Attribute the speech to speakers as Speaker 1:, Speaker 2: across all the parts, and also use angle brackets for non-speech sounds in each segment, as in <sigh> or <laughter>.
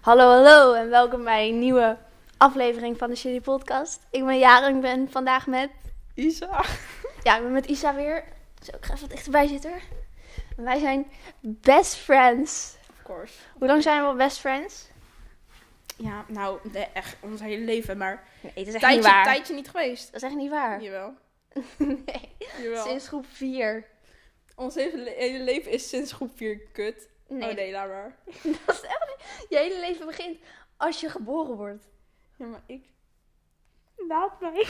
Speaker 1: Hallo, hallo en welkom bij een nieuwe aflevering van de Shitty Podcast. Ik ben Jaren en ik ben vandaag met...
Speaker 2: Isa.
Speaker 1: Ja, ik ben met Isa weer. Zo, ik ga even wat dichterbij zitten. En wij zijn best friends.
Speaker 2: Of course.
Speaker 1: Hoe lang zijn we al best friends?
Speaker 2: Ja, nou, nee, echt ons hele leven, maar
Speaker 1: Nee, dat is echt
Speaker 2: tijdje,
Speaker 1: niet waar.
Speaker 2: tijdje niet geweest.
Speaker 1: Dat is echt niet waar.
Speaker 2: <laughs> Jawel.
Speaker 1: Nee,
Speaker 2: Jawel.
Speaker 1: sinds groep 4.
Speaker 2: Ons hele, le- hele leven is sinds groep 4 kut.
Speaker 1: Nee,
Speaker 2: Oh nee, laat maar.
Speaker 1: <laughs> dat is echt niet... Je hele leven begint als je geboren wordt.
Speaker 2: Ja, maar ik... Laat mij.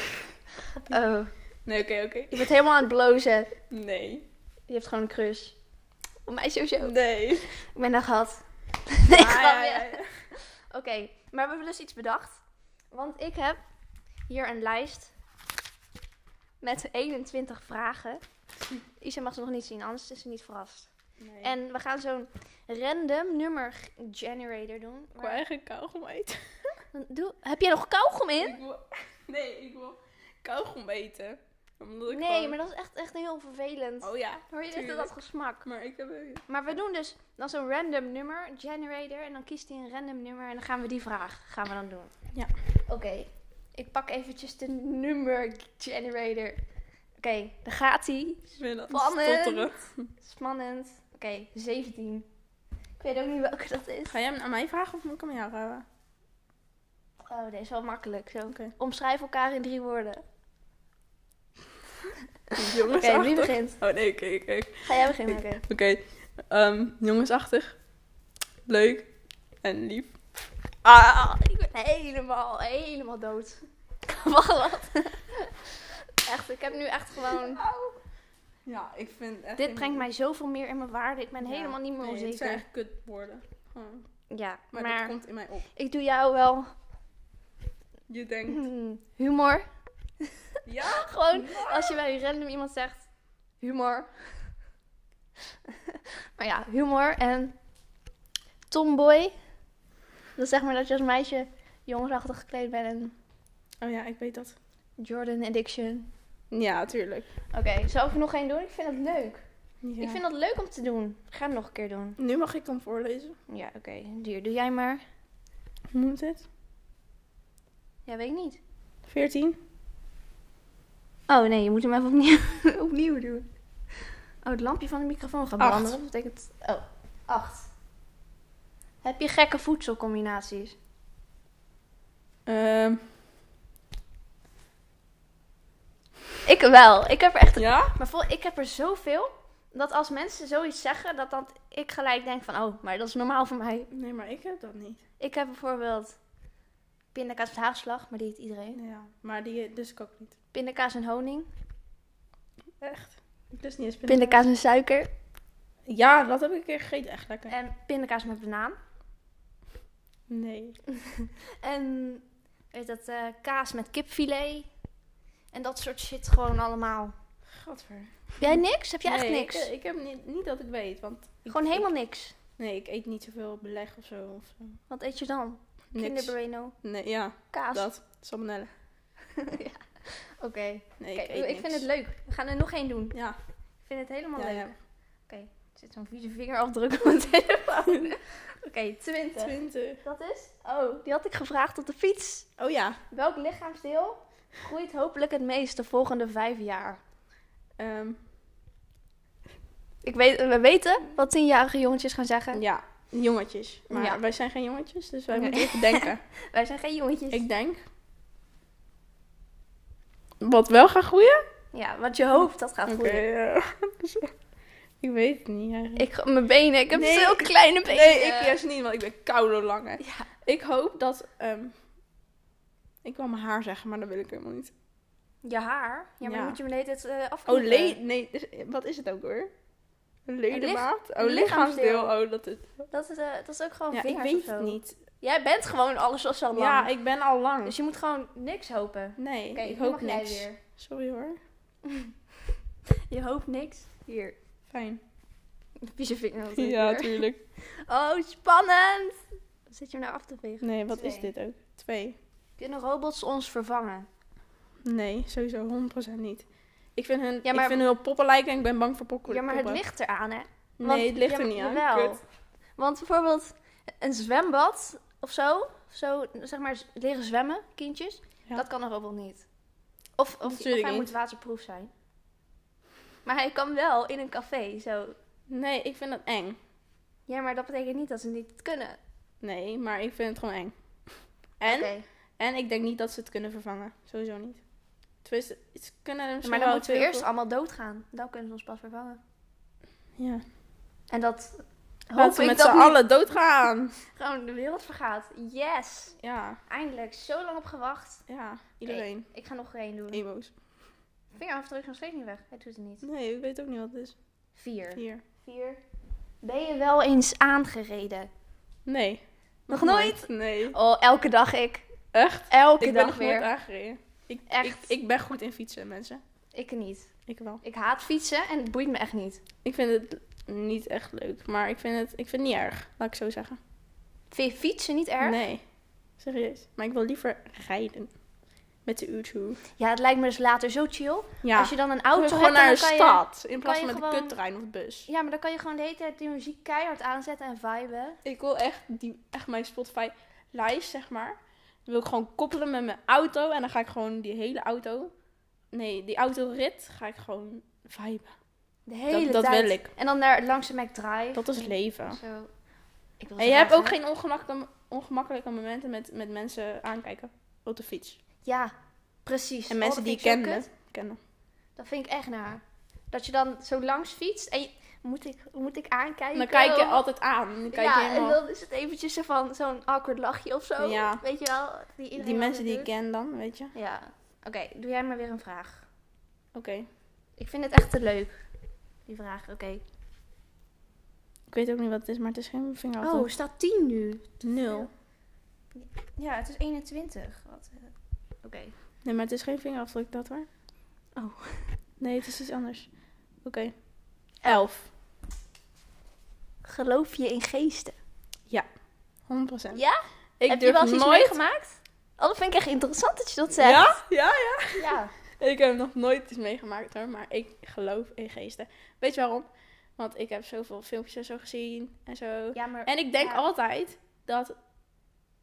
Speaker 1: Oh,
Speaker 2: Nee, oké, oké.
Speaker 1: je bent helemaal aan het blozen.
Speaker 2: Nee.
Speaker 1: Je hebt gewoon een crush. Op mij sowieso.
Speaker 2: Oh. <laughs> Nee.
Speaker 1: Ik ben daar gehad. <laughs> Nee,
Speaker 2: Ah,
Speaker 1: grapje.
Speaker 2: ja, ja, ja.
Speaker 1: Oké, maar we hebben dus iets bedacht. Want ik heb hier een lijst met 21 vragen. Isa mag ze nog niet zien, anders is ze niet verrast.
Speaker 2: Nee.
Speaker 1: En we gaan zo'n random nummer g- generator doen.
Speaker 2: Ik
Speaker 1: Maar-
Speaker 2: wil eigenlijk kauwgom eten.
Speaker 1: Doe, heb jij nog kauwgom in?
Speaker 2: Ik wil... <laughs> Nee, ik wil kauwgom eten. Omdat ik
Speaker 1: Nee,
Speaker 2: gewoon-
Speaker 1: maar dat is echt, echt heel vervelend.
Speaker 2: Oh ja,
Speaker 1: Hoor je echt
Speaker 2: tuurlijk.
Speaker 1: dat gesmak?
Speaker 2: maar ik heb...
Speaker 1: Maar we doen dus dan zo'n random nummer generator. En dan kiest hij een random nummer en dan gaan we die vraag gaan we dan doen.
Speaker 2: Ja.
Speaker 1: Oké, ik pak eventjes de nummer generator. Oké, daar gaat hij.
Speaker 2: Ik ben aan het
Speaker 1: Spannend.
Speaker 2: stotteren.
Speaker 1: Spannend. Oké, 17. Ik weet ook niet welke dat is.
Speaker 2: Ga jij hem aan mij vragen of moet ik hem aan jou <laughs> vragen?
Speaker 1: Oh, deze is wel makkelijk. Zo.
Speaker 2: Oké.
Speaker 1: Omschrijf elkaar in drie woorden. <laughs>
Speaker 2: Jongens,
Speaker 1: Oké, wie begint?
Speaker 2: Oh nee, oké, oké.
Speaker 1: Ga jij <laughs> beginnen? Oké.
Speaker 2: Oké, ehm, jongensachtig, leuk en lief.
Speaker 1: Ah, ik ben helemaal, helemaal dood. <laughs> Wacht, wat? <laughs> Echt, ik heb nu echt gewoon...
Speaker 2: Ja, ik vind echt...
Speaker 1: Dit brengt mij zoveel meer in mijn waarde. Ik ben
Speaker 2: Ja.
Speaker 1: helemaal niet meer
Speaker 2: nee, Het
Speaker 1: onzeker.
Speaker 2: zijn echt kutwoorden. Gewoon.
Speaker 1: Ja, maar,
Speaker 2: Maar, dat komt in mij op.
Speaker 1: ik doe jou wel
Speaker 2: Je
Speaker 1: <laughs>
Speaker 2: denkt,
Speaker 1: hmm, humor.
Speaker 2: ja?
Speaker 1: Gewoon als je bij random iemand zegt humor. <laughs> maar ja, humor en tomboy. Dat is zeg maar dat je als meisje jongensachtig gekleed bent en
Speaker 2: Oh ja, ik weet dat.
Speaker 1: Jordan Addiction.
Speaker 2: Ja, tuurlijk.
Speaker 1: Oké, zou ik er nog één doen? Ik vind het leuk.
Speaker 2: Ja.
Speaker 1: Ik vind dat leuk om te doen. Ik ga het nog een keer doen.
Speaker 2: Nu mag ik hem voorlezen.
Speaker 1: Ja, oké. Dier, doe jij maar.
Speaker 2: Hoe moet het?
Speaker 1: Ja, weet ik niet.
Speaker 2: 14?
Speaker 1: Oh nee, je moet hem even opnieuw, <laughs> opnieuw doen. Oh, het lampje van de microfoon gaat
Speaker 2: Acht.
Speaker 1: branden. Dat betekent... Oh, acht. Heb je gekke voedselcombinaties?
Speaker 2: Ehm,
Speaker 1: Ik wel. Ik heb er echt...
Speaker 2: ja?
Speaker 1: Maar vol, ik heb er zoveel, dat als mensen zoiets zeggen, dat, dat ik gelijk denk van... Oh, maar dat is normaal voor mij.
Speaker 2: Nee, maar ik heb dat niet.
Speaker 1: Ik heb bijvoorbeeld pindakaas met haagslag, maar die eet iedereen.
Speaker 2: Ja, maar die dus ik ook niet.
Speaker 1: Pindakaas en honing.
Speaker 2: Echt. Ik dus niet eens pindakaas.
Speaker 1: Pindakaas en suiker.
Speaker 2: Ja, dat heb ik een keer gegeten. Echt lekker.
Speaker 1: En pindakaas met banaan.
Speaker 2: Nee.
Speaker 1: En weet dat, eh, kaas met kipfilet. En dat soort shit gewoon allemaal.
Speaker 2: Gadver.
Speaker 1: Heb jij niks? Heb jij echt
Speaker 2: Nee,
Speaker 1: niks?
Speaker 2: Ik, ik heb niet, niet dat ik weet, want... ik-
Speaker 1: Gewoon helemaal niks.
Speaker 2: Nee, ik eet niet zoveel beleg of zo. Of zo.
Speaker 1: Wat eet je dan?
Speaker 2: Niks.
Speaker 1: Kinderbreno,
Speaker 2: Nee, ja,
Speaker 1: kaas.
Speaker 2: dat. Salmonella.
Speaker 1: Oké,
Speaker 2: Nee,
Speaker 1: Kijk,
Speaker 2: ik eet
Speaker 1: ik, vind het leuk. We gaan er nog één doen.
Speaker 2: Ja.
Speaker 1: Ik vind het helemaal
Speaker 2: ja,
Speaker 1: leuk.
Speaker 2: ja.
Speaker 1: Er zit zo'n vieze vingerafdruk op mijn telefoon.
Speaker 2: <laughs>
Speaker 1: Oké, 20.
Speaker 2: 20.
Speaker 1: Dat is? Oh, die had ik gevraagd op de fiets.
Speaker 2: Oh ja.
Speaker 1: Welk lichaamsdeel groeit hopelijk het meest de volgende vijf jaar?
Speaker 2: ehm,
Speaker 1: Ik weet, we weten wat tienjarige jongetjes gaan zeggen.
Speaker 2: ja, jongetjes. Maar
Speaker 1: Ja.
Speaker 2: wij zijn geen jongetjes, dus wij
Speaker 1: Oké.
Speaker 2: moeten even
Speaker 1: <laughs>
Speaker 2: denken.
Speaker 1: Wij zijn geen jongetjes.
Speaker 2: ik denk... Wat wel gaat groeien?
Speaker 1: Ja, want je hoofd, dat gaat
Speaker 2: Oké.
Speaker 1: groeien.
Speaker 2: ja. <laughs> Dus, eh, ik weet het niet eigenlijk.
Speaker 1: Ik, mijn benen, ik heb
Speaker 2: Nee,
Speaker 1: zulke kleine benen.
Speaker 2: Nee, ik juist niet, want ik ben koude lang. hè.
Speaker 1: Ja.
Speaker 2: Ik hoop dat... ehm, ik wil mijn haar zeggen, maar dat wil ik helemaal niet.
Speaker 1: Je haar? Ja, maar
Speaker 2: Ja.
Speaker 1: dan moet je hem de hele tijd eh
Speaker 2: Oh,
Speaker 1: afknippen.
Speaker 2: le nee, dus- wat is het ook hoor? Een ledemaat?
Speaker 1: een
Speaker 2: Oh, lichaamsdeel.
Speaker 1: lichaamsdeel.
Speaker 2: Oh, dat is...
Speaker 1: Dat is, eh, dat is ook gewoon
Speaker 2: Ja, ik
Speaker 1: vingers
Speaker 2: weet
Speaker 1: of zo.
Speaker 2: het niet.
Speaker 1: Jij bent gewoon alles zoals al lang.
Speaker 2: Ja, ik ben al lang.
Speaker 1: Dus je moet gewoon niks hopen.
Speaker 2: Nee,
Speaker 1: Oké,
Speaker 2: ik
Speaker 1: nu
Speaker 2: hoop
Speaker 1: mag jij
Speaker 2: niks.
Speaker 1: weer.
Speaker 2: Sorry hoor.
Speaker 1: Je hoopt niks. Hier, <laughs>
Speaker 2: Fijn.
Speaker 1: vieze vinger.
Speaker 2: Ja, tuurlijk.
Speaker 1: Oh, spannend! Wat zit je hem nou af te vegen?
Speaker 2: Nee, wat
Speaker 1: Twee.
Speaker 2: is dit ook? Twee.
Speaker 1: Kunnen robots ons vervangen?
Speaker 2: Nee, sowieso 100% niet. Ik vind hun,
Speaker 1: Ja, maar-
Speaker 2: ik vind hun op poppen lijken en ik ben bang voor pokken.
Speaker 1: Ja, maar het
Speaker 2: poppen.
Speaker 1: ligt eraan, hè?
Speaker 2: Nee, het ligt er niet aan.
Speaker 1: Wel.
Speaker 2: Kut.
Speaker 1: Want bijvoorbeeld een zwembad of zo, zo zeg maar, z- leren zwemmen, kindjes.
Speaker 2: Ja.
Speaker 1: Dat kan een robot niet. Of, of, of
Speaker 2: Natuurlijk
Speaker 1: hij
Speaker 2: niet.
Speaker 1: moet waterproof zijn. Maar hij kan wel in een café, zo.
Speaker 2: Nee, ik vind dat eng.
Speaker 1: Ja, maar dat betekent niet dat ze het niet kunnen.
Speaker 2: Nee, maar ik vind het gewoon eng. En,
Speaker 1: Oké.
Speaker 2: en ik denk niet dat ze het kunnen vervangen. Sowieso niet. Tenminste, ze kunnen er misschien
Speaker 1: Maar dan
Speaker 2: wel
Speaker 1: moeten we
Speaker 2: twee
Speaker 1: eerst
Speaker 2: op-
Speaker 1: allemaal doodgaan. Dan kunnen ze ons pas vervangen.
Speaker 2: Ja.
Speaker 1: En dat hoop
Speaker 2: Laten we
Speaker 1: ik
Speaker 2: met
Speaker 1: dat
Speaker 2: z'n
Speaker 1: niet
Speaker 2: allen doodgaan.
Speaker 1: gewoon de wereld vergaat. Yes!
Speaker 2: Ja,
Speaker 1: Eindelijk, zo lang op gewacht.
Speaker 2: ja. Iedereen.
Speaker 1: Ik ga nog er één doen.
Speaker 2: Ewo's.
Speaker 1: Vingerafdruk is nog steeds niet weg. Hij doet het niet.
Speaker 2: Nee, ik weet ook niet wat het is.
Speaker 1: Vier.
Speaker 2: Hier.
Speaker 1: Vier. Ben je wel eens aangereden?
Speaker 2: Nee.
Speaker 1: Nog
Speaker 2: Nee.
Speaker 1: Oh, elke dag ik.
Speaker 2: Echt?
Speaker 1: Elke
Speaker 2: ik ben
Speaker 1: dag
Speaker 2: nog
Speaker 1: weer.
Speaker 2: nooit aangereden. Ik,
Speaker 1: Echt.
Speaker 2: Ik, ik ben goed in fietsen, mensen.
Speaker 1: Ik niet.
Speaker 2: Ik wel.
Speaker 1: Ik haat fietsen en het boeit me echt niet.
Speaker 2: Ik vind het niet echt leuk, maar ik vind het, ik vind het niet erg, laat ik zo zeggen.
Speaker 1: Vind je fietsen niet erg?
Speaker 2: Nee, serieus. Maar ik wil liever rijden met de auto.
Speaker 1: Ja, het lijkt me dus later zo chill.
Speaker 2: Ja,
Speaker 1: Als je dan een
Speaker 2: Ik wil
Speaker 1: auto
Speaker 2: gewoon
Speaker 1: hebt,
Speaker 2: naar
Speaker 1: dan
Speaker 2: de
Speaker 1: kan je...
Speaker 2: stad in plaats
Speaker 1: je
Speaker 2: van met de
Speaker 1: gewoon-
Speaker 2: kuttrein of bus.
Speaker 1: Ja, maar dan kan je gewoon de hele tijd die muziek keihard aanzetten en viben.
Speaker 2: Ik wil echt, die, echt mijn Spotify lijst, zeg maar, wil ik gewoon koppelen met mijn auto en dan ga ik gewoon die hele auto, nee, die autorit ga ik gewoon viben.
Speaker 1: De hele
Speaker 2: dat
Speaker 1: tijd.
Speaker 2: wil ik.
Speaker 1: En dan naar, langs de McDrive.
Speaker 2: Dat is leven.
Speaker 1: Zo. Ik wil
Speaker 2: En
Speaker 1: zo
Speaker 2: je hebt
Speaker 1: graag,
Speaker 2: ook
Speaker 1: hè?
Speaker 2: geen ongemakkelijke, ongemakkelijke momenten met, met mensen aankijken op de fiets.
Speaker 1: Ja, precies.
Speaker 2: En
Speaker 1: Oh,
Speaker 2: mensen
Speaker 1: dat
Speaker 2: die je
Speaker 1: vind ik zo
Speaker 2: kende.
Speaker 1: kut.
Speaker 2: kende.
Speaker 1: Dat vind ik echt naar. Dat je dan zo langs fietst en je- moet, ik, moet ik aankijken?
Speaker 2: Dan kijk je
Speaker 1: Oh.
Speaker 2: altijd aan. Dan kijk
Speaker 1: ja,
Speaker 2: je helemaal...
Speaker 1: en dan is het eventjes zo van zo'n awkward lachje of zo.
Speaker 2: Ja.
Speaker 1: Weet je wel? Die, iedereen
Speaker 2: die mensen die
Speaker 1: altijd dus-
Speaker 2: ik ken dan, weet je.
Speaker 1: doet. Ja. Oké, doe jij maar weer een vraag.
Speaker 2: Oké.
Speaker 1: Ik vind het echt te leuk, die vraag. Oké.
Speaker 2: Ik weet ook niet wat het is, maar het is geen vingerafdruk.
Speaker 1: Oh, staat 10 nu.
Speaker 2: nul.
Speaker 1: Ja, het is 21. Wat, eh, Oké.
Speaker 2: Nee, maar het is geen vingerafdruk, dat hoor.
Speaker 1: Oh.
Speaker 2: <laughs> Nee, het is iets anders. Oké. Elf.
Speaker 1: Geloof je in geesten?
Speaker 2: 100 procent.
Speaker 1: Ja?
Speaker 2: Ik
Speaker 1: Heb je
Speaker 2: durf
Speaker 1: wel eens iets
Speaker 2: nooit...
Speaker 1: meegemaakt? Oh, dat vind ik echt interessant dat je dat zegt.
Speaker 2: Ja? Ja, ja.
Speaker 1: Ja.
Speaker 2: Ik heb nog nooit iets meegemaakt hoor, maar ik geloof in geesten. Weet je waarom? Want ik heb zoveel filmpjes en zo gezien en zo.
Speaker 1: Ja, maar...
Speaker 2: En ik denk
Speaker 1: Ja.
Speaker 2: altijd dat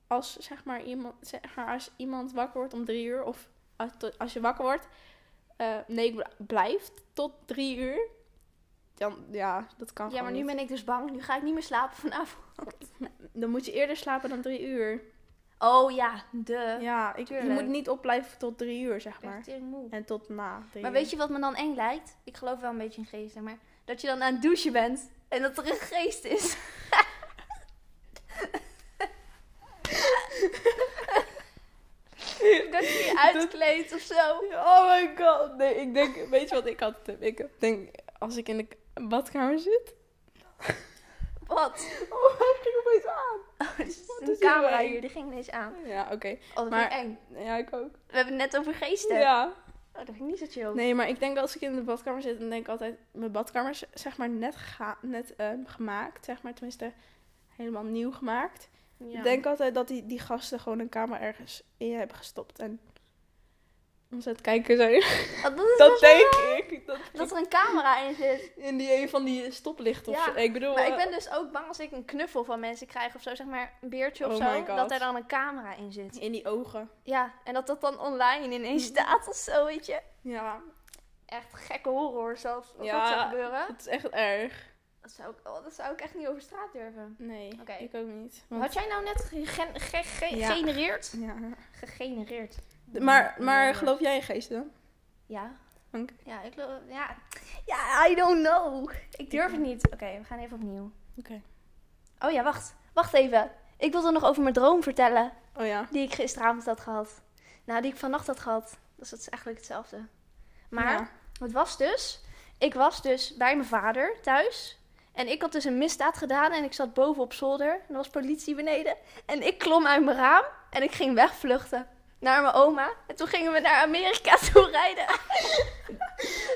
Speaker 2: als, zeg maar, iemand, zeg maar, als iemand wakker wordt om drie uur, of als, tot- als je wakker wordt, eh, nee, ik bl- blijft tot drie uur, dan, ja, dat kan
Speaker 1: Ja, maar nu
Speaker 2: gewoon
Speaker 1: ben ik dus bang. Nu ga ik niet meer slapen vanavond.
Speaker 2: niet. Dan moet je eerder slapen dan drie uur.
Speaker 1: Oh ja, de.
Speaker 2: ja, ik, je
Speaker 1: tuurlijk.
Speaker 2: moet niet opblijven tot drie uur, zeg
Speaker 1: Ik ben
Speaker 2: maar.
Speaker 1: echt tering moe.
Speaker 2: En tot na drie
Speaker 1: Maar
Speaker 2: uur.
Speaker 1: weet je wat me dan eng lijkt? Ik geloof wel een beetje in geesten, maar dat je dan aan het douchen bent en dat er een geest is.
Speaker 2: <laughs>
Speaker 1: dat
Speaker 2: <laughs>
Speaker 1: je je uitkleedt of zo.
Speaker 2: Oh my god. Nee, ik denk, weet je wat ik altijd heb? Ik denk, als ik in de k- badkamer zit.
Speaker 1: Wat? <laughs> Oh,
Speaker 2: Oh, hij ging opeens aan. Wat
Speaker 1: De
Speaker 2: is hier
Speaker 1: camera
Speaker 2: eng?
Speaker 1: hier, die ging ineens aan.
Speaker 2: Ja, oké.
Speaker 1: Oh, dat
Speaker 2: Maar-
Speaker 1: vind ik eng.
Speaker 2: Ja, ik ook.
Speaker 1: We hebben het net over geesten.
Speaker 2: Ja.
Speaker 1: Oh, dat vind ik niet zo chill.
Speaker 2: Nee, maar ik denk als ik in de badkamer zit, dan denk ik altijd... Mijn badkamer is zeg maar net, ga- net ehm, gemaakt, zeg maar. Tenminste, helemaal nieuw gemaakt.
Speaker 1: Ja.
Speaker 2: Ik denk altijd dat die, die gasten gewoon een kamer ergens in hebben gestopt. En ons aan het kijken zijn.
Speaker 1: Oh,
Speaker 2: <laughs>
Speaker 1: dat is
Speaker 2: Dat
Speaker 1: best wel
Speaker 2: denk
Speaker 1: eng.
Speaker 2: ik. Dat,
Speaker 1: Dat er een camera in zit.
Speaker 2: in die een van die stoplichten of
Speaker 1: Ja,
Speaker 2: zo. Ik bedoel...
Speaker 1: Maar
Speaker 2: eh,
Speaker 1: ik ben dus ook bang als ik een knuffel van mensen krijg of zo, zeg maar een beertje of
Speaker 2: Oh
Speaker 1: zo,
Speaker 2: my God.
Speaker 1: dat er dan een camera in zit.
Speaker 2: In die ogen.
Speaker 1: Ja, en dat dat dan online ineens staat of zo, weet je.
Speaker 2: Ja,
Speaker 1: Echt gekke horror zelfs, als
Speaker 2: Ja.
Speaker 1: dat zou gebeuren.
Speaker 2: het is echt erg.
Speaker 1: Dat zou, ik, oh, dat zou ik echt niet over straat durven.
Speaker 2: Nee,
Speaker 1: Oké.
Speaker 2: ik ook niet. Want-
Speaker 1: Had jij nou net gegen- ge- ge-
Speaker 2: Ja.
Speaker 1: gegenereerd?
Speaker 2: Ja.
Speaker 1: Gegenereerd.
Speaker 2: De- Maar,
Speaker 1: Ja.
Speaker 2: maar geloof jij in geesten dan?
Speaker 1: Ja.
Speaker 2: Oké.
Speaker 1: Ja, ik geloof... Ja. ja, I don't know. Ik durf het niet. Oké, we gaan even opnieuw.
Speaker 2: Oké.
Speaker 1: Oh ja, wacht. Wacht even. Ik wilde nog over mijn droom vertellen,
Speaker 2: Oh ja.
Speaker 1: die ik gisteravond had gehad. Nou, die ik vannacht had gehad. Dus dat is eigenlijk hetzelfde. Maar...
Speaker 2: Ja.
Speaker 1: Het was dus, ik was dus bij mijn vader thuis. En ik had dus een misdaad gedaan en ik zat boven op zolder. En er was politie beneden. En ik klom uit mijn raam en ik ging wegvluchten naar mijn oma. En toen gingen we naar Amerika <laughs> toe rijden.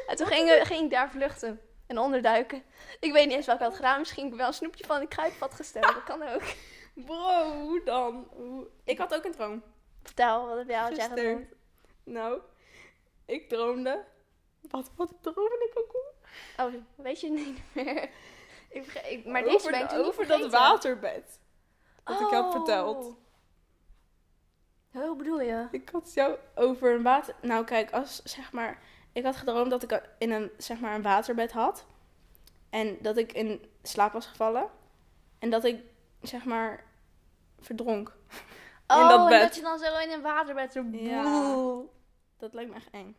Speaker 1: en toen gingen, ging ik daar vluchten en onderduiken. Ik weet niet eens wat ik had gedaan. Misschien heb ik wel een snoepje van een kruidvat gestolen. Dat kan ook. <laughs>
Speaker 2: Bro, hoe dan? Hoe- Ik had ook een droom.
Speaker 1: Vertel, wat heb jij al
Speaker 2: Gisteren.
Speaker 1: gedaan?
Speaker 2: Nou, ik droomde. Wat, wat droomde ik ook? om?
Speaker 1: Oh, weet je het niet meer? Ik verge- ik- maar deze
Speaker 2: Over
Speaker 1: ben ik
Speaker 2: de-
Speaker 1: toen niet
Speaker 2: Over dat
Speaker 1: vergeten.
Speaker 2: waterbed. Wat ik had verteld.
Speaker 1: Oh, Hoe bedoel je?
Speaker 2: Ik had jou over een water. Nou, kijk, als zeg maar. Ik had gedroomd dat ik in een, zeg maar, een waterbed had. En dat ik in slaap was gevallen. En dat ik, zeg maar, verdronk.
Speaker 1: Oh,
Speaker 2: dat
Speaker 1: en
Speaker 2: bed.
Speaker 1: dat je dan zo in een waterbed zo
Speaker 2: Ja.
Speaker 1: boel.
Speaker 2: Dat lijkt me echt eng.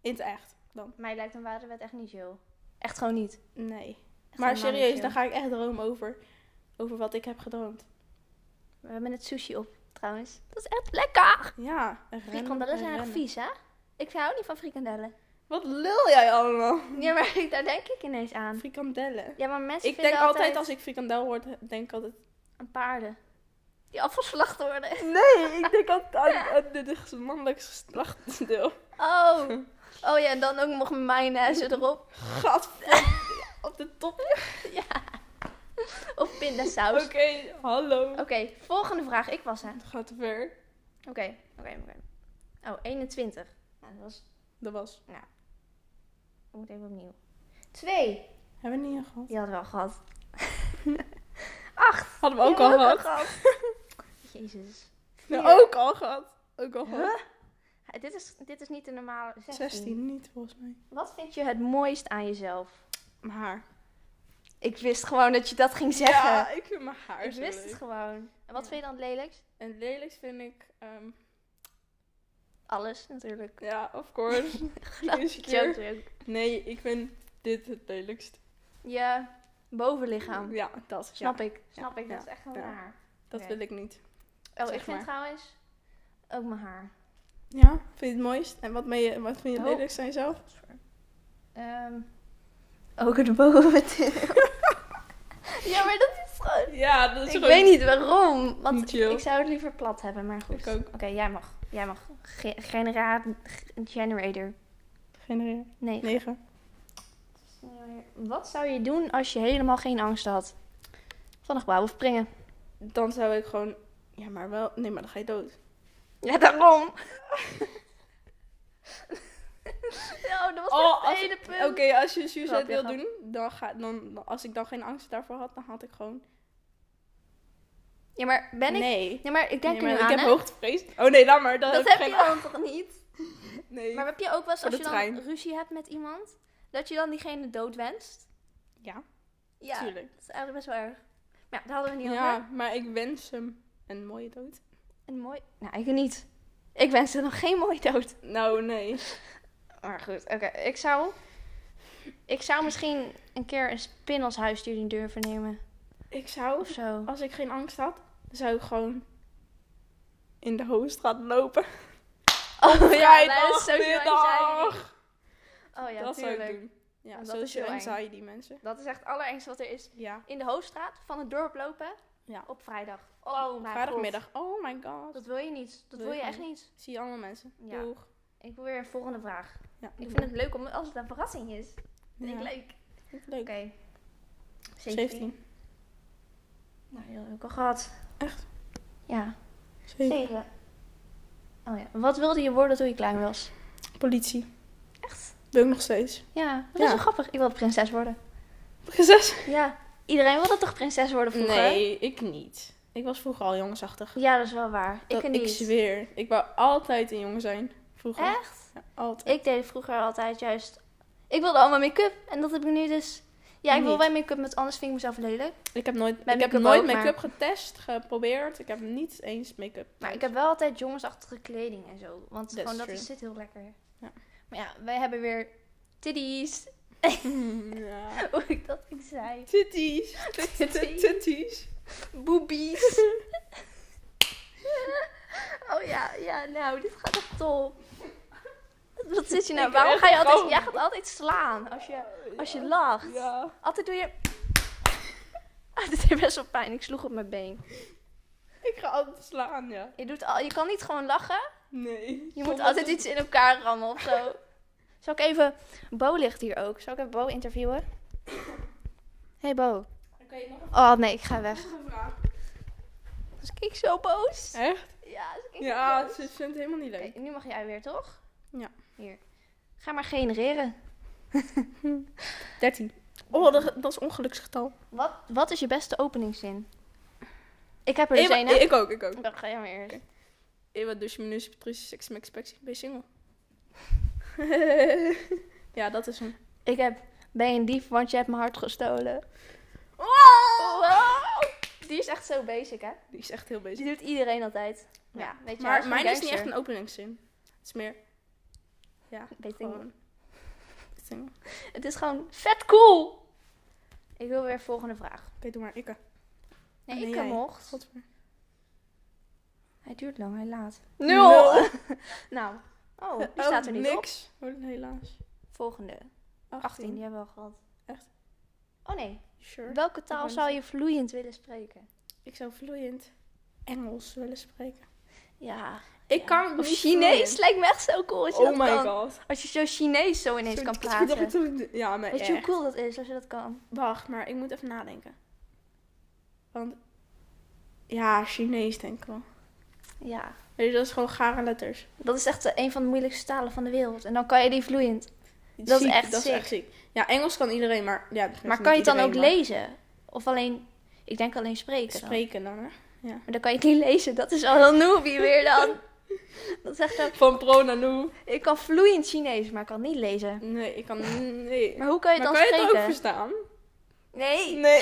Speaker 2: In het echt dan.
Speaker 1: Mij lijkt een waterbed echt niet chill. Echt gewoon niet.
Speaker 2: Nee.
Speaker 1: Echt
Speaker 2: Maar
Speaker 1: helemaal niet
Speaker 2: serieus,
Speaker 1: chill.
Speaker 2: dan ga ik echt dromen over, over wat ik heb gedroomd.
Speaker 1: We hebben net sushi op, trouwens. Dat is echt lekker!
Speaker 2: Ja, en rennen,
Speaker 1: Frikandellen
Speaker 2: en
Speaker 1: zijn echt
Speaker 2: rennen.
Speaker 1: vies, hè? Ik hou niet van frikandellen.
Speaker 2: Wat lul jij allemaal?
Speaker 1: Ja, maar <laughs> daar denk ik ineens aan.
Speaker 2: Frikandellen.
Speaker 1: Ja, maar mensen
Speaker 2: Ik
Speaker 1: vinden
Speaker 2: denk altijd als ik frikandel hoor, denk ik altijd...
Speaker 1: aan paarden. Die afgeslacht worden.
Speaker 2: Nee, ik denk altijd <laughs> aan, aan het mannelijk geslachtsdeel.
Speaker 1: Oh. <laughs> Oh ja, en dan ook nog mayonaise erop.
Speaker 2: Gadver... Op de top.
Speaker 1: Of
Speaker 2: Oké,
Speaker 1: pindasaus. <laughs> Oké,
Speaker 2: hallo.
Speaker 1: volgende vraag. Ik was aan.
Speaker 2: Het gaat te ver.
Speaker 1: Oké, oké, oké. Oh, 21. Nou, dat was...
Speaker 2: Dat was...
Speaker 1: Ik moet even opnieuw. 2.
Speaker 2: Hebben we niet al gehad?
Speaker 1: Die hadden we al gehad.
Speaker 2: Hadden we ook
Speaker 1: Die
Speaker 2: al
Speaker 1: hadden we
Speaker 2: gehad?
Speaker 1: <laughs> Jezus.
Speaker 2: Nou,
Speaker 1: Vier.
Speaker 2: ook al gehad. Ook al gehad.
Speaker 1: Huh? Dit, is, dit is niet de normale 16.
Speaker 2: 16 niet, volgens mij.
Speaker 1: Wat vind je het mooist aan jezelf?
Speaker 2: Mijn haar.
Speaker 1: Ik wist gewoon dat je dat ging zeggen.
Speaker 2: Ja, ik vind mijn haar
Speaker 1: ik
Speaker 2: zo
Speaker 1: wist
Speaker 2: leuk.
Speaker 1: het gewoon. En wat
Speaker 2: Ja.
Speaker 1: vind je dan het lelijkst?
Speaker 2: En het lelijkst vind ik... ehm,
Speaker 1: Alles natuurlijk.
Speaker 2: ja, of <laughs> course.
Speaker 1: <laughs>
Speaker 2: Insecure.
Speaker 1: Joke, joke.
Speaker 2: Nee, ik vind dit het lelijkst.
Speaker 1: Je bovenlichaam.
Speaker 2: Ja, dat.
Speaker 1: Snap
Speaker 2: ja,
Speaker 1: ik. Snap ik. Dat
Speaker 2: Ja.
Speaker 1: is echt gewoon
Speaker 2: Ja.
Speaker 1: raar.
Speaker 2: Dat
Speaker 1: Oké.
Speaker 2: wil ik niet.
Speaker 1: Oh,
Speaker 2: Zeg
Speaker 1: ik vind
Speaker 2: maar.
Speaker 1: trouwens ook mijn haar.
Speaker 2: Ja? Vind je het mooist? En wat, ben je, wat vind je het
Speaker 1: Oh.
Speaker 2: lelijkst aan jezelf?
Speaker 1: Ehm, ook het bovendeel. <laughs> ja, maar dat is gewoon...
Speaker 2: Ja, dat
Speaker 1: Ik
Speaker 2: is
Speaker 1: weet niet waarom. Want
Speaker 2: Niet chill.
Speaker 1: ik zou het liever plat hebben, maar goed.
Speaker 2: Ik ook.
Speaker 1: Oké, jij mag. Jij mag. Ge- genera- g- generator.
Speaker 2: Genereer.
Speaker 1: Nee.
Speaker 2: 9.
Speaker 1: Wat zou je doen als je helemaal geen angst had? Van een gebouw of springen.
Speaker 2: Dan zou ik gewoon... Ja, maar wel... Nee, maar dan ga je dood.
Speaker 1: Ja, daarom. <laughs> nou, dat was
Speaker 2: Oh,
Speaker 1: echt het
Speaker 2: als-
Speaker 1: hele punt.
Speaker 2: Oké, als je suicide
Speaker 1: Grapje,
Speaker 2: wil
Speaker 1: grapje.
Speaker 2: doen, dan ga, dan, dan- als ik dan geen angst daarvoor had, dan had ik gewoon...
Speaker 1: Ja, maar ben ik...
Speaker 2: Nee.
Speaker 1: Ja, maar ik denk
Speaker 2: Nee,
Speaker 1: er
Speaker 2: maar
Speaker 1: nu
Speaker 2: ik
Speaker 1: aan,
Speaker 2: heb
Speaker 1: hè.
Speaker 2: hoogtevrees. Oh nee, laat maar. Dan
Speaker 1: Dat
Speaker 2: heb
Speaker 1: heb
Speaker 2: ik geen
Speaker 1: je dan toch niet?
Speaker 2: angst. Nee.
Speaker 1: Maar heb je ook wel eens,
Speaker 2: Voor
Speaker 1: als
Speaker 2: de
Speaker 1: je dan
Speaker 2: trein.
Speaker 1: ruzie hebt met iemand, dat je dan diegene dood wenst?
Speaker 2: Ja,
Speaker 1: Ja,
Speaker 2: tuurlijk.
Speaker 1: dat is eigenlijk best wel erg. Maar ja, daar hadden we het niet
Speaker 2: Ja,
Speaker 1: over.
Speaker 2: maar ik wens hem een mooie dood.
Speaker 1: Een mooi... Nou, ik niet. Ik wenste nog geen mooie dood.
Speaker 2: Nou, nee.
Speaker 1: Maar goed, oké. Ik zou... Ik zou misschien een keer een spin als huisdier durven nemen.
Speaker 2: Ik zou,
Speaker 1: Of zo.
Speaker 2: als ik geen angst had, zou ik gewoon in de hoofdstraat
Speaker 1: <laughs>
Speaker 2: lopen.
Speaker 1: Oh
Speaker 2: vrijdagmiddag.
Speaker 1: Oh ja,
Speaker 2: dat zou ik
Speaker 1: tuurlijk.
Speaker 2: doen. Ja,
Speaker 1: Dat is
Speaker 2: social
Speaker 1: heel eng.
Speaker 2: anxiety, mensen.
Speaker 1: Dat is echt het allerengste wat er is.
Speaker 2: Ja.
Speaker 1: In de hoofdstraat van het dorp lopen
Speaker 2: ja.
Speaker 1: op vrijdag. Oh mijn god.
Speaker 2: Vrijdagmiddag. Oh my god.
Speaker 1: Dat wil je niet. Dat
Speaker 2: Wil
Speaker 1: wil je
Speaker 2: ik
Speaker 1: echt niet.
Speaker 2: Zie je allemaal mensen.
Speaker 1: Ja.
Speaker 2: Doeg.
Speaker 1: Ik wil weer een volgende vraag.
Speaker 2: Ja,
Speaker 1: Ik vind het leuk om, als het een verrassing is. Dat vind ik
Speaker 2: Ja.
Speaker 1: leuk.
Speaker 2: het leuk.
Speaker 1: Oké.
Speaker 2: 17.
Speaker 1: Nou, die had ik ook al gehad.
Speaker 2: Echt?
Speaker 1: Ja.
Speaker 2: 17.
Speaker 1: 7. Oh ja. Wat wilde je worden toen je klein was?
Speaker 2: Politie.
Speaker 1: Echt?
Speaker 2: Wil ik nog steeds.
Speaker 1: Ja, dat
Speaker 2: Ja.
Speaker 1: is wel grappig. Ik wilde prinses worden.
Speaker 2: Gezes?
Speaker 1: Ja, iedereen wilde toch prinses worden vroeger?
Speaker 2: Nee, ik niet. Ik was vroeger al jongensachtig.
Speaker 1: Ja, dat is wel waar.
Speaker 2: Dat-
Speaker 1: ik niet.
Speaker 2: Ik zweer. Ik wou altijd een jongen zijn. Vroeger.
Speaker 1: Echt?
Speaker 2: Ja, altijd.
Speaker 1: Ik deed vroeger altijd juist... Ik wilde allemaal make-up en dat heb ik nu dus... Ja, ik wil
Speaker 2: Niet.
Speaker 1: wel make-up, want anders vind ik mezelf lelijk.
Speaker 2: Ik heb nooit,
Speaker 1: Mijn
Speaker 2: ik heb
Speaker 1: make-up
Speaker 2: nooit
Speaker 1: ook, maar-
Speaker 2: make-up getest, geprobeerd. Ik heb niet eens make-up.
Speaker 1: Maar ik heb wel altijd jongensachtige kleding en zo. Want
Speaker 2: That's
Speaker 1: gewoon dat
Speaker 2: true.
Speaker 1: is, zit heel lekker.
Speaker 2: Ja.
Speaker 1: Maar ja, wij hebben weer titties.
Speaker 2: <laughs> ja.
Speaker 1: <laughs> Hoe ik dat ik zei. <laughs>
Speaker 2: Titties.
Speaker 1: Titties.
Speaker 2: Titties.
Speaker 1: Boobies. <laughs> oh ja, ja, nou, dit gaat echt top. Wat zit je
Speaker 2: <laughs>
Speaker 1: nou?
Speaker 2: Ik
Speaker 1: Waarom
Speaker 2: echt
Speaker 1: ga je altijd...
Speaker 2: gewoon-
Speaker 1: Jij gaat altijd slaan als je, als je lacht.
Speaker 2: Ja.
Speaker 1: Altijd doe je... <laughs> Ah, dit deed best wel pijn. Ik sloeg op mijn been.
Speaker 2: Ik ga altijd slaan, ja.
Speaker 1: Je, doet al, je kan niet gewoon lachen.
Speaker 2: Nee.
Speaker 1: Je
Speaker 2: Soms
Speaker 1: moet altijd
Speaker 2: is-
Speaker 1: iets in elkaar rammen of zo. Zal ik even... Bo ligt hier ook. Zal ik even Bo interviewen? Hey Bo.
Speaker 2: Oké, nog een
Speaker 1: Oh nee, ik ga weg.
Speaker 2: volgende vraag.
Speaker 1: Dus ik keek zo boos.
Speaker 2: Echt?
Speaker 1: Ja, dus ik keek zo
Speaker 2: Ja,
Speaker 1: boos.
Speaker 2: ze vindt het helemaal niet leuk.
Speaker 1: Oké, nu mag jij weer, toch?
Speaker 2: Ja.
Speaker 1: Hier. Ga maar genereren.
Speaker 2: 13. Oh, dat, dat is ongeluksgetal.
Speaker 1: Wat, wat is je beste openingszin? Ik heb er dus
Speaker 2: Ik,
Speaker 1: één, hè?
Speaker 2: ik ook, ik ook.
Speaker 1: Dan ga jij maar eerst.
Speaker 2: Ewa dus douche minus Patrice seks max ik ben single.
Speaker 1: <laughs>
Speaker 2: ja, dat is hem.
Speaker 1: Ik heb... Ben je een dief, want je hebt mijn hart gestolen.
Speaker 2: Oh. Wow!
Speaker 1: Die is echt zo basic, hè?
Speaker 2: Die is echt heel
Speaker 1: Die
Speaker 2: bezig.
Speaker 1: doet iedereen altijd. Ja,
Speaker 2: Ja,
Speaker 1: weet je hij
Speaker 2: Maar
Speaker 1: een
Speaker 2: mijn is niet
Speaker 1: gangster.
Speaker 2: echt een openingszin. Het is meer... Ja,
Speaker 1: Weet ik
Speaker 2: gewoon... Single.
Speaker 1: Het is gewoon vet cool. Ik wil weer volgende vraag.
Speaker 2: Oké, doe maar. Ikke.
Speaker 1: Nee,
Speaker 2: Nee,
Speaker 1: ik
Speaker 2: jij.
Speaker 1: mocht.
Speaker 2: Godver.
Speaker 1: Hij duurt lang, hij laat.
Speaker 2: Nul. <laughs>
Speaker 1: nou, oh, die staat er niet op.
Speaker 2: niks. Oh, helaas.
Speaker 1: Volgende.
Speaker 2: 18.
Speaker 1: 18, die hebben we al gehad.
Speaker 2: Echt?
Speaker 1: Oh nee.
Speaker 2: Sure.
Speaker 1: Welke taal
Speaker 2: ben
Speaker 1: zou je vloeiend willen spreken?
Speaker 2: Ik zou vloeiend Engels willen spreken.
Speaker 1: Ja.
Speaker 2: Ik
Speaker 1: ja.
Speaker 2: kan
Speaker 1: Of
Speaker 2: niet
Speaker 1: Chinees
Speaker 2: vloeiend.
Speaker 1: lijkt me echt zo cool als je dat
Speaker 2: Oh my
Speaker 1: kan.
Speaker 2: god.
Speaker 1: Als je zo Chinees zo ineens
Speaker 2: Sorry,
Speaker 1: kan
Speaker 2: dat <laughs> ik
Speaker 1: praten.
Speaker 2: dacht dat ik- Ja, maar eh.
Speaker 1: Weet je hoe
Speaker 2: echt.
Speaker 1: cool dat is als je dat kan?
Speaker 2: Wacht, maar ik moet even nadenken. Want... Ja, Chinees denk ik wel.
Speaker 1: Ja.
Speaker 2: Weet je, dat is gewoon gare letters.
Speaker 1: Dat is echt eh, een van de moeilijkste talen van de wereld. En dan kan je die vloeiend. Dat is echt
Speaker 2: dat
Speaker 1: sick.
Speaker 2: Is echt ziek. Ja, Engels kan iedereen, maar... Ja, dat
Speaker 1: Maar
Speaker 2: is
Speaker 1: kan je
Speaker 2: niet
Speaker 1: het dan ook
Speaker 2: iedereen, maar
Speaker 1: lezen? Of alleen, ik denk alleen spreken dan.
Speaker 2: Spreken dan, hè?
Speaker 1: Maar dan kan je het niet lezen. Dat is al een newbie weer dan. <laughs> Dat zegt ook,
Speaker 2: Van pro naar nu.
Speaker 1: ik kan vloeiend Chinees, maar ik kan niet lezen.
Speaker 2: Nee, ik kan... Nee.
Speaker 1: Maar hoe kan je het
Speaker 2: Maar
Speaker 1: dan
Speaker 2: kan je het
Speaker 1: spreken?
Speaker 2: ook verstaan?
Speaker 1: Nee, <laughs>
Speaker 2: Nee.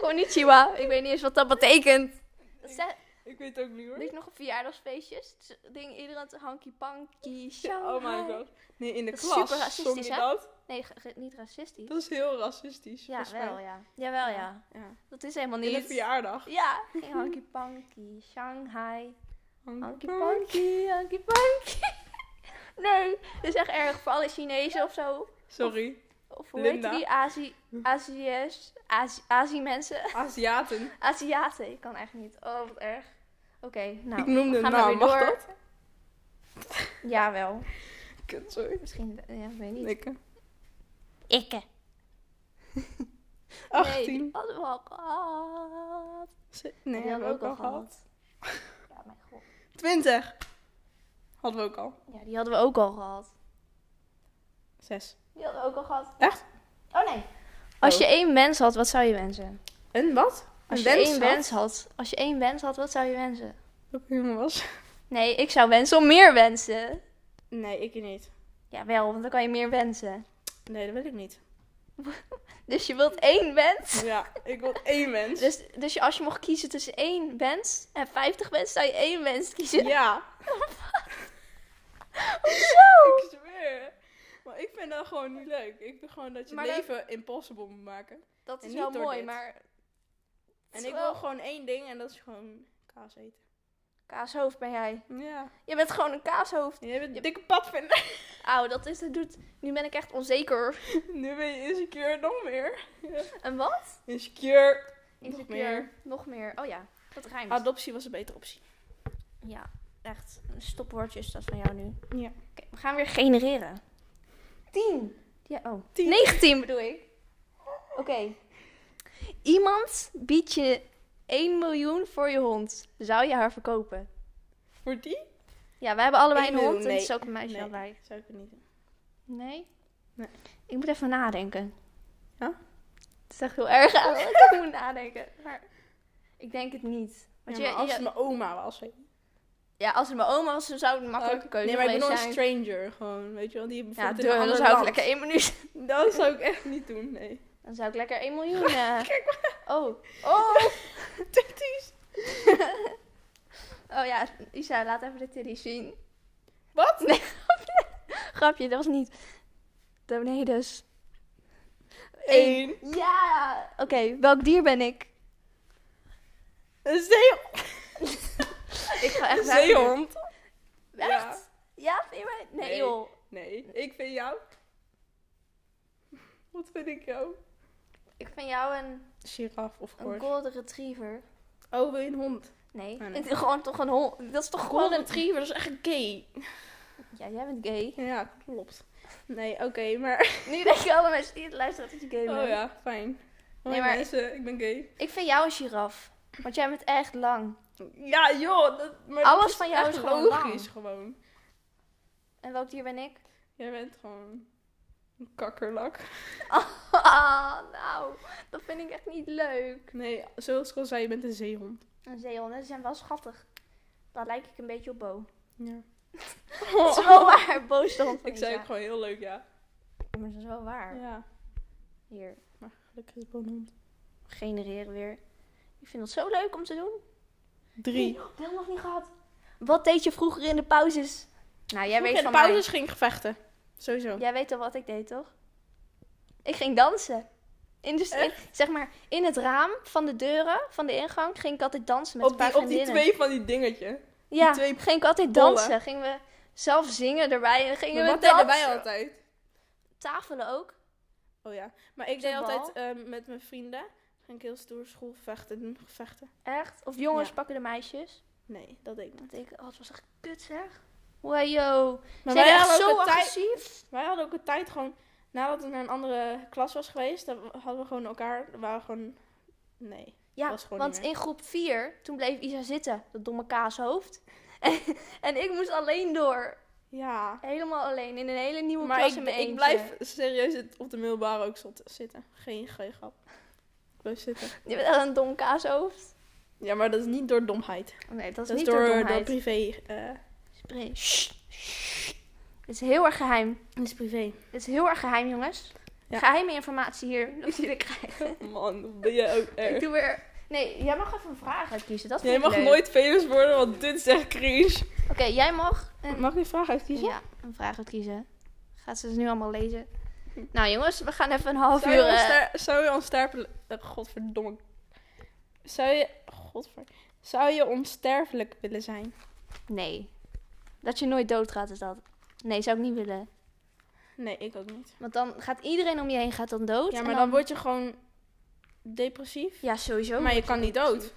Speaker 1: konnichiwa. Ik weet niet eens wat dat betekent. Dat zegt,
Speaker 2: ik weet het ook niet,
Speaker 1: er
Speaker 2: hoor.
Speaker 1: is nog op verjaardagsfeestjes. Het is- Ding, iedereen te hanky
Speaker 2: <laughs>
Speaker 1: panky.
Speaker 2: Oh my god. Nee, in de
Speaker 1: Dat is
Speaker 2: klas
Speaker 1: super racistisch,
Speaker 2: zong je
Speaker 1: hè?
Speaker 2: dat.
Speaker 1: Nee, ge- ge- niet racistisch.
Speaker 2: Dat is heel racistisch.
Speaker 1: Ja,
Speaker 2: volgens mij.
Speaker 1: wel ja. Jawel ja.
Speaker 2: Ja.
Speaker 1: Dat is helemaal
Speaker 2: In de
Speaker 1: niet.
Speaker 2: verjaardag.
Speaker 1: Ja,
Speaker 2: <laughs>
Speaker 1: ging hanky panky, Shanghai. Hanky
Speaker 2: Hanky-panky.
Speaker 1: panky, hanky panky. <laughs> Nee, dat is echt erg voor alle Chinezen of zo.
Speaker 2: Sorry.
Speaker 1: Of hoe
Speaker 2: Linda.
Speaker 1: heet die? Azi, Aziërs, Azi, Azi-mensen.
Speaker 2: Aziaten.
Speaker 1: Aziaten. Ik kan echt niet. Oh, wat erg. Oké, nou.
Speaker 2: ik noemde
Speaker 1: we
Speaker 2: een
Speaker 1: gaan
Speaker 2: naam,
Speaker 1: maar
Speaker 2: mag
Speaker 1: weer door.
Speaker 2: dat?
Speaker 1: Jawel.
Speaker 2: Kut, sorry.
Speaker 1: Misschien, ja, ik weet niet.
Speaker 2: Nikke.
Speaker 1: Ikke.
Speaker 2: 18.
Speaker 1: Nee, die hadden we al gehad.
Speaker 2: Ze-
Speaker 1: Die
Speaker 2: Nee,
Speaker 1: hadden
Speaker 2: hebben we ook al gehad.
Speaker 1: Ja, mijn god.
Speaker 2: 20. Hadden we ook al.
Speaker 1: Ja, die hadden we ook al gehad.
Speaker 2: 6.
Speaker 1: Die hadden we ook al gehad.
Speaker 2: Echt?
Speaker 1: Oh nee. Als je één mens had, wat zou je wensen?
Speaker 2: Een wat?
Speaker 1: Als
Speaker 2: een
Speaker 1: je
Speaker 2: wens
Speaker 1: één
Speaker 2: had?
Speaker 1: wens had, als je één wens had, wat zou je wensen?
Speaker 2: Dat ik een jongen was.
Speaker 1: Nee, ik zou wensen om meer wensen.
Speaker 2: Nee, ik niet.
Speaker 1: Jawel, want dan kan je meer wensen.
Speaker 2: Nee, dat wil ik niet.
Speaker 1: Dus je wilt één wens.
Speaker 2: Ja, ik wil één wens.
Speaker 1: Dus, dus je- als je mocht kiezen tussen één wens en 50 wensen, zou je één wens kiezen.
Speaker 2: Ja.
Speaker 1: <laughs> Hoezo?
Speaker 2: Ik zweer. Maar ik vind dat gewoon niet leuk. Ik vind gewoon dat je
Speaker 1: Maar dat-
Speaker 2: leven impossible moet maken.
Speaker 1: Dat is
Speaker 2: En
Speaker 1: wel
Speaker 2: niet door
Speaker 1: mooi,
Speaker 2: dit.
Speaker 1: maar
Speaker 2: En
Speaker 1: is
Speaker 2: ik
Speaker 1: wel-
Speaker 2: wil gewoon één ding en dat is gewoon kaas eten.
Speaker 1: kaashoofd ben jij.
Speaker 2: Ja.
Speaker 1: Je bent gewoon een kaashoofd.
Speaker 2: Je bent een dikke padvinder.
Speaker 1: Auw, dat is, dat doet, nu ben ik echt onzeker.
Speaker 2: <laughs> nu ben je insecure nog meer.
Speaker 1: En wat?
Speaker 2: Insecure.
Speaker 1: Insecure.
Speaker 2: meer. Ah,
Speaker 1: Nog meer. Oh ja, dat rijmt.
Speaker 2: Adoptie was een betere optie.
Speaker 1: ja, echt. Stopwoordjes, dat is van jou nu.
Speaker 2: Ja.
Speaker 1: Oké, we gaan weer genereren. 10. Ja, oh.
Speaker 2: Tien.
Speaker 1: 19 bedoel ik. Oké. Iemand biedt je 1 miljoen voor je hond. Zou je haar verkopen?
Speaker 2: Voor die?
Speaker 1: Ja, wij hebben allebei
Speaker 2: Eén
Speaker 1: een hond.
Speaker 2: miljoen,
Speaker 1: En het
Speaker 2: nee.
Speaker 1: is ook een meisje
Speaker 2: Nee.
Speaker 1: allebei.
Speaker 2: Zou ik het niet doen.
Speaker 1: Nee?
Speaker 2: Nee.
Speaker 1: Ik moet even nadenken.
Speaker 2: Ja?
Speaker 1: Het is echt heel erg aan. <laughs> ik moet nadenken. Maar ik denk het niet. Want
Speaker 2: ja,
Speaker 1: je-
Speaker 2: maar als
Speaker 1: je-
Speaker 2: het mijn oma was. weet je.
Speaker 1: ja, als het mijn oma was, dan zou het een makkelijke
Speaker 2: Ook-
Speaker 1: keuze
Speaker 2: Nee, maar ik ben
Speaker 1: geweest
Speaker 2: nog een
Speaker 1: zijn.
Speaker 2: stranger gewoon. Weet je wel, die
Speaker 1: Ja,
Speaker 2: bijvoorbeeld in een
Speaker 1: deur, dan
Speaker 2: ander
Speaker 1: zou ik
Speaker 2: land.
Speaker 1: lekker één minuut.
Speaker 2: Dat zou ik echt niet doen, nee.
Speaker 1: Dan zou ik lekker 1
Speaker 2: <laughs>
Speaker 1: miljoen. eh, Oh. Oh.
Speaker 2: Titties.
Speaker 1: <laughs> Oh ja, Isa, laat even de titties zien.
Speaker 2: Wat?
Speaker 1: <laughs> Nee, grapje, dat was niet. De- Nee, dus.
Speaker 2: Eén.
Speaker 1: Ja! Oké, welk dier ben ik?
Speaker 2: Een zeehond.
Speaker 1: Ik ga echt
Speaker 2: Een
Speaker 1: zeggen-
Speaker 2: zeehond. Ja.
Speaker 1: Echt? Ja, vind je mij? Nee,
Speaker 2: Nee.
Speaker 1: joh.
Speaker 2: Nee, ik vind jou... Wat vind ik jou?
Speaker 1: Ik vind jou een,
Speaker 2: Giraf of
Speaker 1: een
Speaker 2: koord.
Speaker 1: golden retriever.
Speaker 2: Oh, wil je een hond?
Speaker 1: Nee,
Speaker 2: Ah, nee.
Speaker 1: het is gewoon toch een hond. Dat is toch
Speaker 2: Golden
Speaker 1: gewoon een...
Speaker 2: retriever, dat is echt gay.
Speaker 1: Ja, jij bent
Speaker 2: <laughs>
Speaker 1: gay.
Speaker 2: Ja, klopt. Nee, oké, maar...
Speaker 1: Nu denken alle mensen die het luisteren dat je gay bent.
Speaker 2: Oh ja, fijn. Hoi
Speaker 1: Nee, maar-
Speaker 2: mensen, ik ben gay.
Speaker 1: Ik vind jou een giraf. Want jij bent echt lang.
Speaker 2: Ja, joh. Dat, maar
Speaker 1: Alles
Speaker 2: dat
Speaker 1: van jou
Speaker 2: echt
Speaker 1: is gewoon
Speaker 2: logisch,
Speaker 1: lang.
Speaker 2: gewoon.
Speaker 1: <laughs> En welk dier ben ik?
Speaker 2: Jij bent gewoon Een kakkerlak.
Speaker 1: Ah, nou, dat vind ik echt niet leuk.
Speaker 2: Nee, zoals ik al zei, je bent een zeehond.
Speaker 1: En zeehonden zijn wel schattig. Daar lijk ik een beetje op <laughs> Bo.
Speaker 2: <laughs> Ja. Oh,
Speaker 1: Dat is wel waar, Bo is de hond van
Speaker 2: ik zei
Speaker 1: Isa.
Speaker 2: ook gewoon heel leuk, ja.
Speaker 1: Maar dat is wel waar.
Speaker 2: Ja,
Speaker 1: Hier,
Speaker 2: gelukkig is bonhond.
Speaker 1: genereren weer. Ik vind dat zo leuk om te doen.
Speaker 2: Drie.
Speaker 1: Nee, <gasps> dat nog niet gehad. Wat deed je vroeger in de pauzes? Nou, jij weet
Speaker 2: in de
Speaker 1: van
Speaker 2: pauzes ging ik vechten. Sowieso.
Speaker 1: mij. Jij weet al wat ik deed, toch? Ik ging dansen. In de, in- zeg maar, in het raam van de deuren, van de ingang, ging ik altijd dansen met een
Speaker 2: op,
Speaker 1: paar
Speaker 2: die, op die
Speaker 1: vriendinnen.
Speaker 2: twee van die dingetje.
Speaker 1: ja,
Speaker 2: twee
Speaker 1: ging ik altijd
Speaker 2: bollen.
Speaker 1: dansen. Gingen we zelf zingen erbij en gingen
Speaker 2: Maar
Speaker 1: we
Speaker 2: wat
Speaker 1: dansen.
Speaker 2: deden wij altijd?
Speaker 1: Tafelen ook.
Speaker 2: Oh ja. Maar ik
Speaker 1: Zo'n
Speaker 2: deed altijd
Speaker 1: bal.
Speaker 2: ehm, met mijn vrienden. Ging ik heel stoer school vechten. doen, Vechten.
Speaker 1: Echt. Of jongens
Speaker 2: Ja.
Speaker 1: pakken de meisjes.
Speaker 2: Nee, dat deed ik niet.
Speaker 1: Dat ik, oh, het was echt kut, zeg. Wow, yo.
Speaker 2: Maar
Speaker 1: Zijn
Speaker 2: wij
Speaker 1: echt
Speaker 2: hadden,
Speaker 1: zo
Speaker 2: ook een tijd,
Speaker 1: agressief.
Speaker 2: wij hadden ook een tijd gewoon... Nadat ik naar een andere klas was geweest, dan hadden we gewoon elkaar... waren gewoon... Nee.
Speaker 1: Ja,
Speaker 2: Was gewoon
Speaker 1: want
Speaker 2: niet meer.
Speaker 1: in groep 4, toen bleef Isa zitten, dat domme kaashoofd. <laughs> en ik moest alleen door.
Speaker 2: Ja.
Speaker 1: Helemaal alleen, in een hele nieuwe
Speaker 2: Maar
Speaker 1: klas
Speaker 2: ik,
Speaker 1: in mijn
Speaker 2: ik
Speaker 1: eentje.
Speaker 2: blijf serieus het- op de middelbare ook zot- zitten. Geen, geen grap. Ik blijf zitten.
Speaker 1: Je bent echt een dom kaashoofd.
Speaker 2: Ja, maar dat is niet door domheid.
Speaker 1: Nee, dat
Speaker 2: Dat
Speaker 1: is
Speaker 2: is,
Speaker 1: niet door,
Speaker 2: door,
Speaker 1: domheid.
Speaker 2: door privé. eh
Speaker 1: Spray. Sst, sst. Het is heel erg geheim.
Speaker 2: dat is privé.
Speaker 1: Het is heel erg geheim, jongens.
Speaker 2: Ja.
Speaker 1: Geheime informatie hier,
Speaker 2: <laughs>
Speaker 1: dat jullie krijgen.
Speaker 2: Man, dat ben jij ook
Speaker 1: ik
Speaker 2: erg.
Speaker 1: doe weer... Nee, jij mag even een vraag uitkiezen, dat vind
Speaker 2: Eh.
Speaker 1: ik
Speaker 2: Jij mag
Speaker 1: leuk.
Speaker 2: nooit famous worden, want dit is echt cringe.
Speaker 1: Oké, jij mag... een-
Speaker 2: Mag ik een vraag uitkiezen?
Speaker 1: Ja, een vraag uitkiezen. Gaat ze dus nu allemaal lezen? Nou jongens, we gaan even een half
Speaker 2: Zou
Speaker 1: uur...
Speaker 2: je
Speaker 1: eh,
Speaker 2: onster- Zou je onsterfelijk... eh, Godverdomme. Zou je... Godver... Zou je onsterfelijk willen zijn?
Speaker 1: Nee. Dat je nooit doodgaat is dat. Nee, zou ik niet willen.
Speaker 2: Nee, ik ook niet.
Speaker 1: Want dan gaat iedereen om je heen gaat dan dood.
Speaker 2: Ja,
Speaker 1: en
Speaker 2: maar dan word je gewoon depressief.
Speaker 1: Ja, sowieso.
Speaker 2: Maar je kan niet dood. Oké,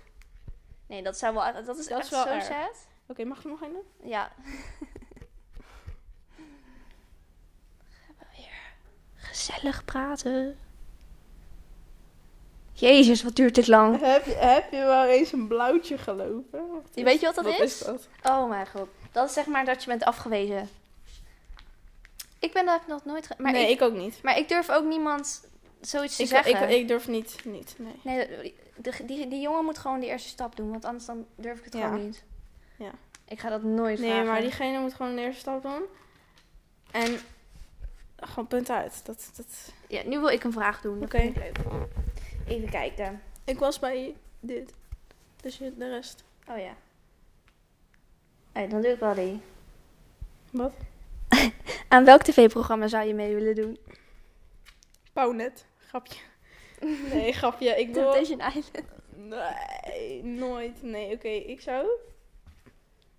Speaker 1: Nee, dat zou wel... Dat is
Speaker 2: Dat
Speaker 1: echt
Speaker 2: is wel
Speaker 1: zo
Speaker 2: erg.
Speaker 1: sad.
Speaker 2: mag ik er nog een doen?
Speaker 1: Ja.
Speaker 2: <laughs>
Speaker 1: Gaan we weer gezellig praten. Jezus, wat duurt dit lang.
Speaker 2: Heb je, heb je wel eens een blauwtje gelopen? Of
Speaker 1: Weet je wat dat is?
Speaker 2: wat is dat?
Speaker 1: Oh mijn god. Dat is zeg maar dat je bent afgewezen. Ik ben daar nog nooit... ge- Maar,
Speaker 2: nee,
Speaker 1: ik,
Speaker 2: ik, ook niet.
Speaker 1: maar ik durf ook niemand zoiets te
Speaker 2: Ik, ik,
Speaker 1: zeggen.
Speaker 2: ik durf niet, niet, nee.
Speaker 1: Nee, de- die, die jongen moet gewoon de eerste stap doen, want anders dan durf ik het
Speaker 2: Ja.
Speaker 1: gewoon niet.
Speaker 2: Ja.
Speaker 1: Ik ga dat nooit
Speaker 2: Nee,
Speaker 1: vragen.
Speaker 2: maar diegene moet gewoon de eerste stap doen. En gewoon punt uit. Dat, dat...
Speaker 1: Ja, nu wil ik een vraag doen. dat
Speaker 2: Oké.
Speaker 1: vind ik leuk. Even kijken.
Speaker 2: Ik was bij dit. Dus je- de rest.
Speaker 1: Oh ja. Hey, dan doe ik wel die.
Speaker 2: Wat?
Speaker 1: <laughs> Aan welk tv-programma zou je mee willen doen?
Speaker 2: Pauwnet. Grapje.
Speaker 1: <laughs>
Speaker 2: Nee, grapje. Ik wil...
Speaker 1: Temptation Island.
Speaker 2: Nee, nooit. Nee, oké. Ik zou...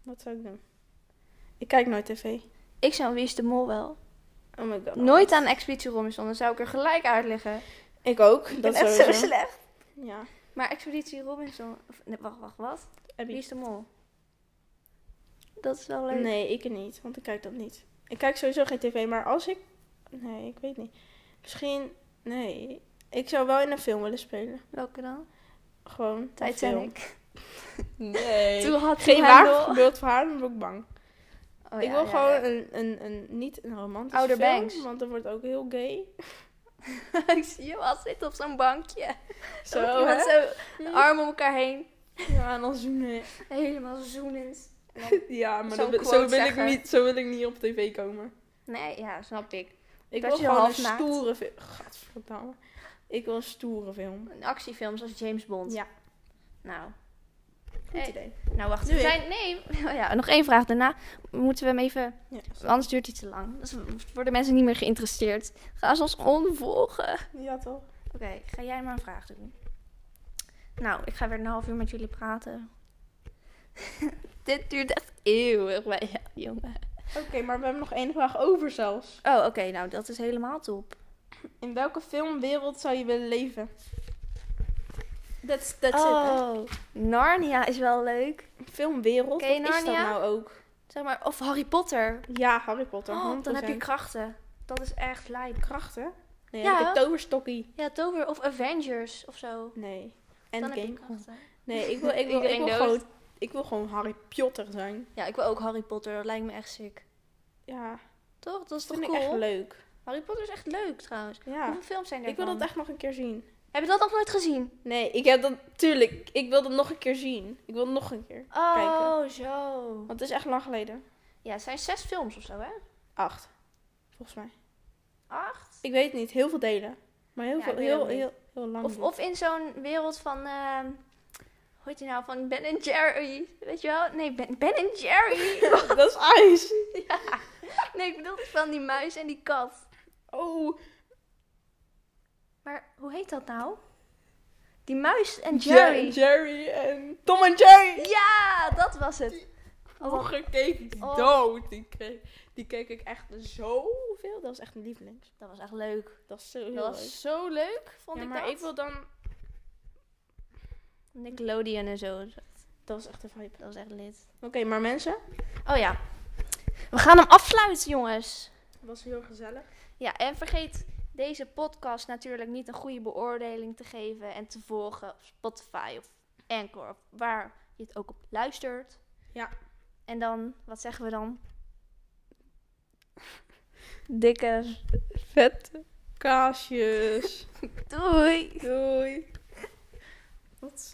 Speaker 2: Wat zou ik doen? Ik kijk nooit tv.
Speaker 1: Ik zou Wie is de Mol wel.
Speaker 2: Oh my god.
Speaker 1: Nooit aan Expeditie Robinson, dan zou ik er gelijk uitleggen.
Speaker 2: Ik ook.
Speaker 1: Ik
Speaker 2: dat
Speaker 1: ben echt zo
Speaker 2: sowieso.
Speaker 1: slecht.
Speaker 2: Ja.
Speaker 1: Maar Expeditie Robinson... Of, nee, wacht, wacht, wat? Wie
Speaker 2: Abby.
Speaker 1: is de Mol? Dat is wel leuk.
Speaker 2: Nee, ik niet, want ik kijk dat niet. Ik kijk sowieso geen tv, maar als ik... Nee, ik weet niet. Misschien... Nee. Ik zou wel in een film willen spelen.
Speaker 1: Welke dan?
Speaker 2: Gewoon een
Speaker 1: Titanic.
Speaker 2: film. Nee.
Speaker 1: <laughs> Toen had
Speaker 2: geen
Speaker 1: hij
Speaker 2: waar
Speaker 1: nog-
Speaker 2: gebeurd verhaal, dan word ik bang.
Speaker 1: Oh,
Speaker 2: ik
Speaker 1: ja,
Speaker 2: wil
Speaker 1: ja,
Speaker 2: gewoon
Speaker 1: ja.
Speaker 2: Een, een, een... Niet een romantische
Speaker 1: Outer
Speaker 2: film,
Speaker 1: Banks.
Speaker 2: want dan wordt ook heel
Speaker 1: <laughs>
Speaker 2: gay.
Speaker 1: <laughs> ik zie je wel zitten op zo'n bankje.
Speaker 2: Zo,
Speaker 1: Iemand
Speaker 2: hè?
Speaker 1: zo de armen om elkaar heen.
Speaker 2: Ja, en dan zoenen.
Speaker 1: Helemaal zoenend.
Speaker 2: Ja, maar
Speaker 1: Zo'n
Speaker 2: dat, wil- zo,
Speaker 1: quote
Speaker 2: wil ik
Speaker 1: zeggen.
Speaker 2: niet, zo wil ik niet op tv komen.
Speaker 1: Nee, ja, snap ik.
Speaker 2: Ik
Speaker 1: Dat
Speaker 2: wil
Speaker 1: je
Speaker 2: gewoon een
Speaker 1: half naakt.
Speaker 2: stoere film. Gadverdamme. Ik wil een stoere film.
Speaker 1: Een actiefilm zoals James Bond.
Speaker 2: Ja.
Speaker 1: Nou.
Speaker 2: Goed
Speaker 1: Hey.
Speaker 2: idee.
Speaker 1: Nou, wacht.
Speaker 2: Nu
Speaker 1: we
Speaker 2: ik.
Speaker 1: zijn... Nee, <laughs> ja, nog één vraag. Daarna moeten we hem even...
Speaker 2: Ja,
Speaker 1: Anders duurt hij te lang. Dus worden mensen niet meer geïnteresseerd. Ga ze ons onvolgen. Oké,
Speaker 2: ja toch?
Speaker 1: ga jij maar een vraag doen. Nou, ik ga weer een half uur met jullie praten. <laughs> Dit duurt echt eeuwig bij jou, jongen.
Speaker 2: Oké, maar we hebben nog één vraag over zelfs.
Speaker 1: Oh, oké. nou, dat is helemaal top.
Speaker 2: In welke filmwereld zou je willen leven? That's, that's it,
Speaker 1: oh, Narnia is wel leuk.
Speaker 2: hè? Filmwereld,
Speaker 1: Ken je
Speaker 2: wat is dat
Speaker 1: Narnia?
Speaker 2: nou ook?
Speaker 1: Zeg maar, of Harry Potter.
Speaker 2: Ja, Harry Potter.
Speaker 1: Oh, dan heb je
Speaker 2: 100%.
Speaker 1: krachten. Dat is echt lijp.
Speaker 2: krachten. Nee,
Speaker 1: Ja.
Speaker 2: ja. heb je toverstokkie.
Speaker 1: Ja, Tover of Avengers of zo.
Speaker 2: Nee.
Speaker 1: Dan heb je
Speaker 2: Endgame.
Speaker 1: krachten.
Speaker 2: Nee, ik
Speaker 1: <laughs>
Speaker 2: wil, ik wil, ik
Speaker 1: Iedereen
Speaker 2: wil,
Speaker 1: dood.
Speaker 2: gewoon, ik wil gewoon Harry Potter zijn.
Speaker 1: Ja, ik wil ook Harry Potter. Dat lijkt me echt sick.
Speaker 2: Ja,
Speaker 1: Toch? Dat is
Speaker 2: dat vind
Speaker 1: toch
Speaker 2: ik echt
Speaker 1: cool?
Speaker 2: leuk.
Speaker 1: Harry Potter is echt leuk trouwens.
Speaker 2: Ja.
Speaker 1: Hoeveel films zijn er
Speaker 2: Ik wil dat echt nog een keer zien.
Speaker 1: Heb je dat nog nooit gezien?
Speaker 2: Nee, ik heb dat... Tuurlijk, ik wil dat nog een keer zien. Ik wil nog een keer.
Speaker 1: Oh,
Speaker 2: Kijken.
Speaker 1: zo.
Speaker 2: Want het is echt lang geleden.
Speaker 1: Ja, het zijn zes films of zo, hè?
Speaker 2: Acht. Volgens mij.
Speaker 1: Acht?
Speaker 2: Ik weet niet. Heel veel delen. Maar heel
Speaker 1: Ja,
Speaker 2: veel...
Speaker 1: ik weet het
Speaker 2: Heel,
Speaker 1: niet.
Speaker 2: heel, heel lang.
Speaker 1: Of, of in zo'n wereld van... ehm, hoe heet die nou? Van Ben en Jerry. Weet je wel? Nee, Ben, ben en Jerry.
Speaker 2: <laughs> dat is ijs.
Speaker 1: ja. Nee, ik bedoel van die muis en die kat.
Speaker 2: Oh.
Speaker 1: Maar hoe heet dat nou? Die muis en
Speaker 2: Jerry.
Speaker 1: Jerry.
Speaker 2: Jerry en... Tom en Jerry.
Speaker 1: Ja, dat was het. Oh,
Speaker 2: Vroeger keek ik
Speaker 1: Oh.
Speaker 2: dood. Die keek, die keek ik echt zoveel. Dat was echt mijn lievelings.
Speaker 1: dat was echt leuk.
Speaker 2: Dat is zo heel
Speaker 1: Dat
Speaker 2: leuk.
Speaker 1: was zo leuk, vond
Speaker 2: Ja,
Speaker 1: ik
Speaker 2: maar
Speaker 1: dat.
Speaker 2: ik wil dan...
Speaker 1: Nickelodeon en zo.
Speaker 2: Dat was echt een vibe.
Speaker 1: Dat was echt lid.
Speaker 2: Oké, maar mensen?
Speaker 1: Oh ja. We gaan hem afsluiten, jongens.
Speaker 2: Het was heel gezellig.
Speaker 1: Ja, en vergeet deze podcast natuurlijk niet een goede beoordeling te geven en te volgen op Spotify of Anchor of waar je het ook op luistert.
Speaker 2: Ja.
Speaker 1: En dan, wat zeggen we dan? <laughs> Dikke.
Speaker 2: Vet.
Speaker 1: <laughs>
Speaker 2: Kaasjes.
Speaker 1: Doei.
Speaker 2: Doei. Wat zo.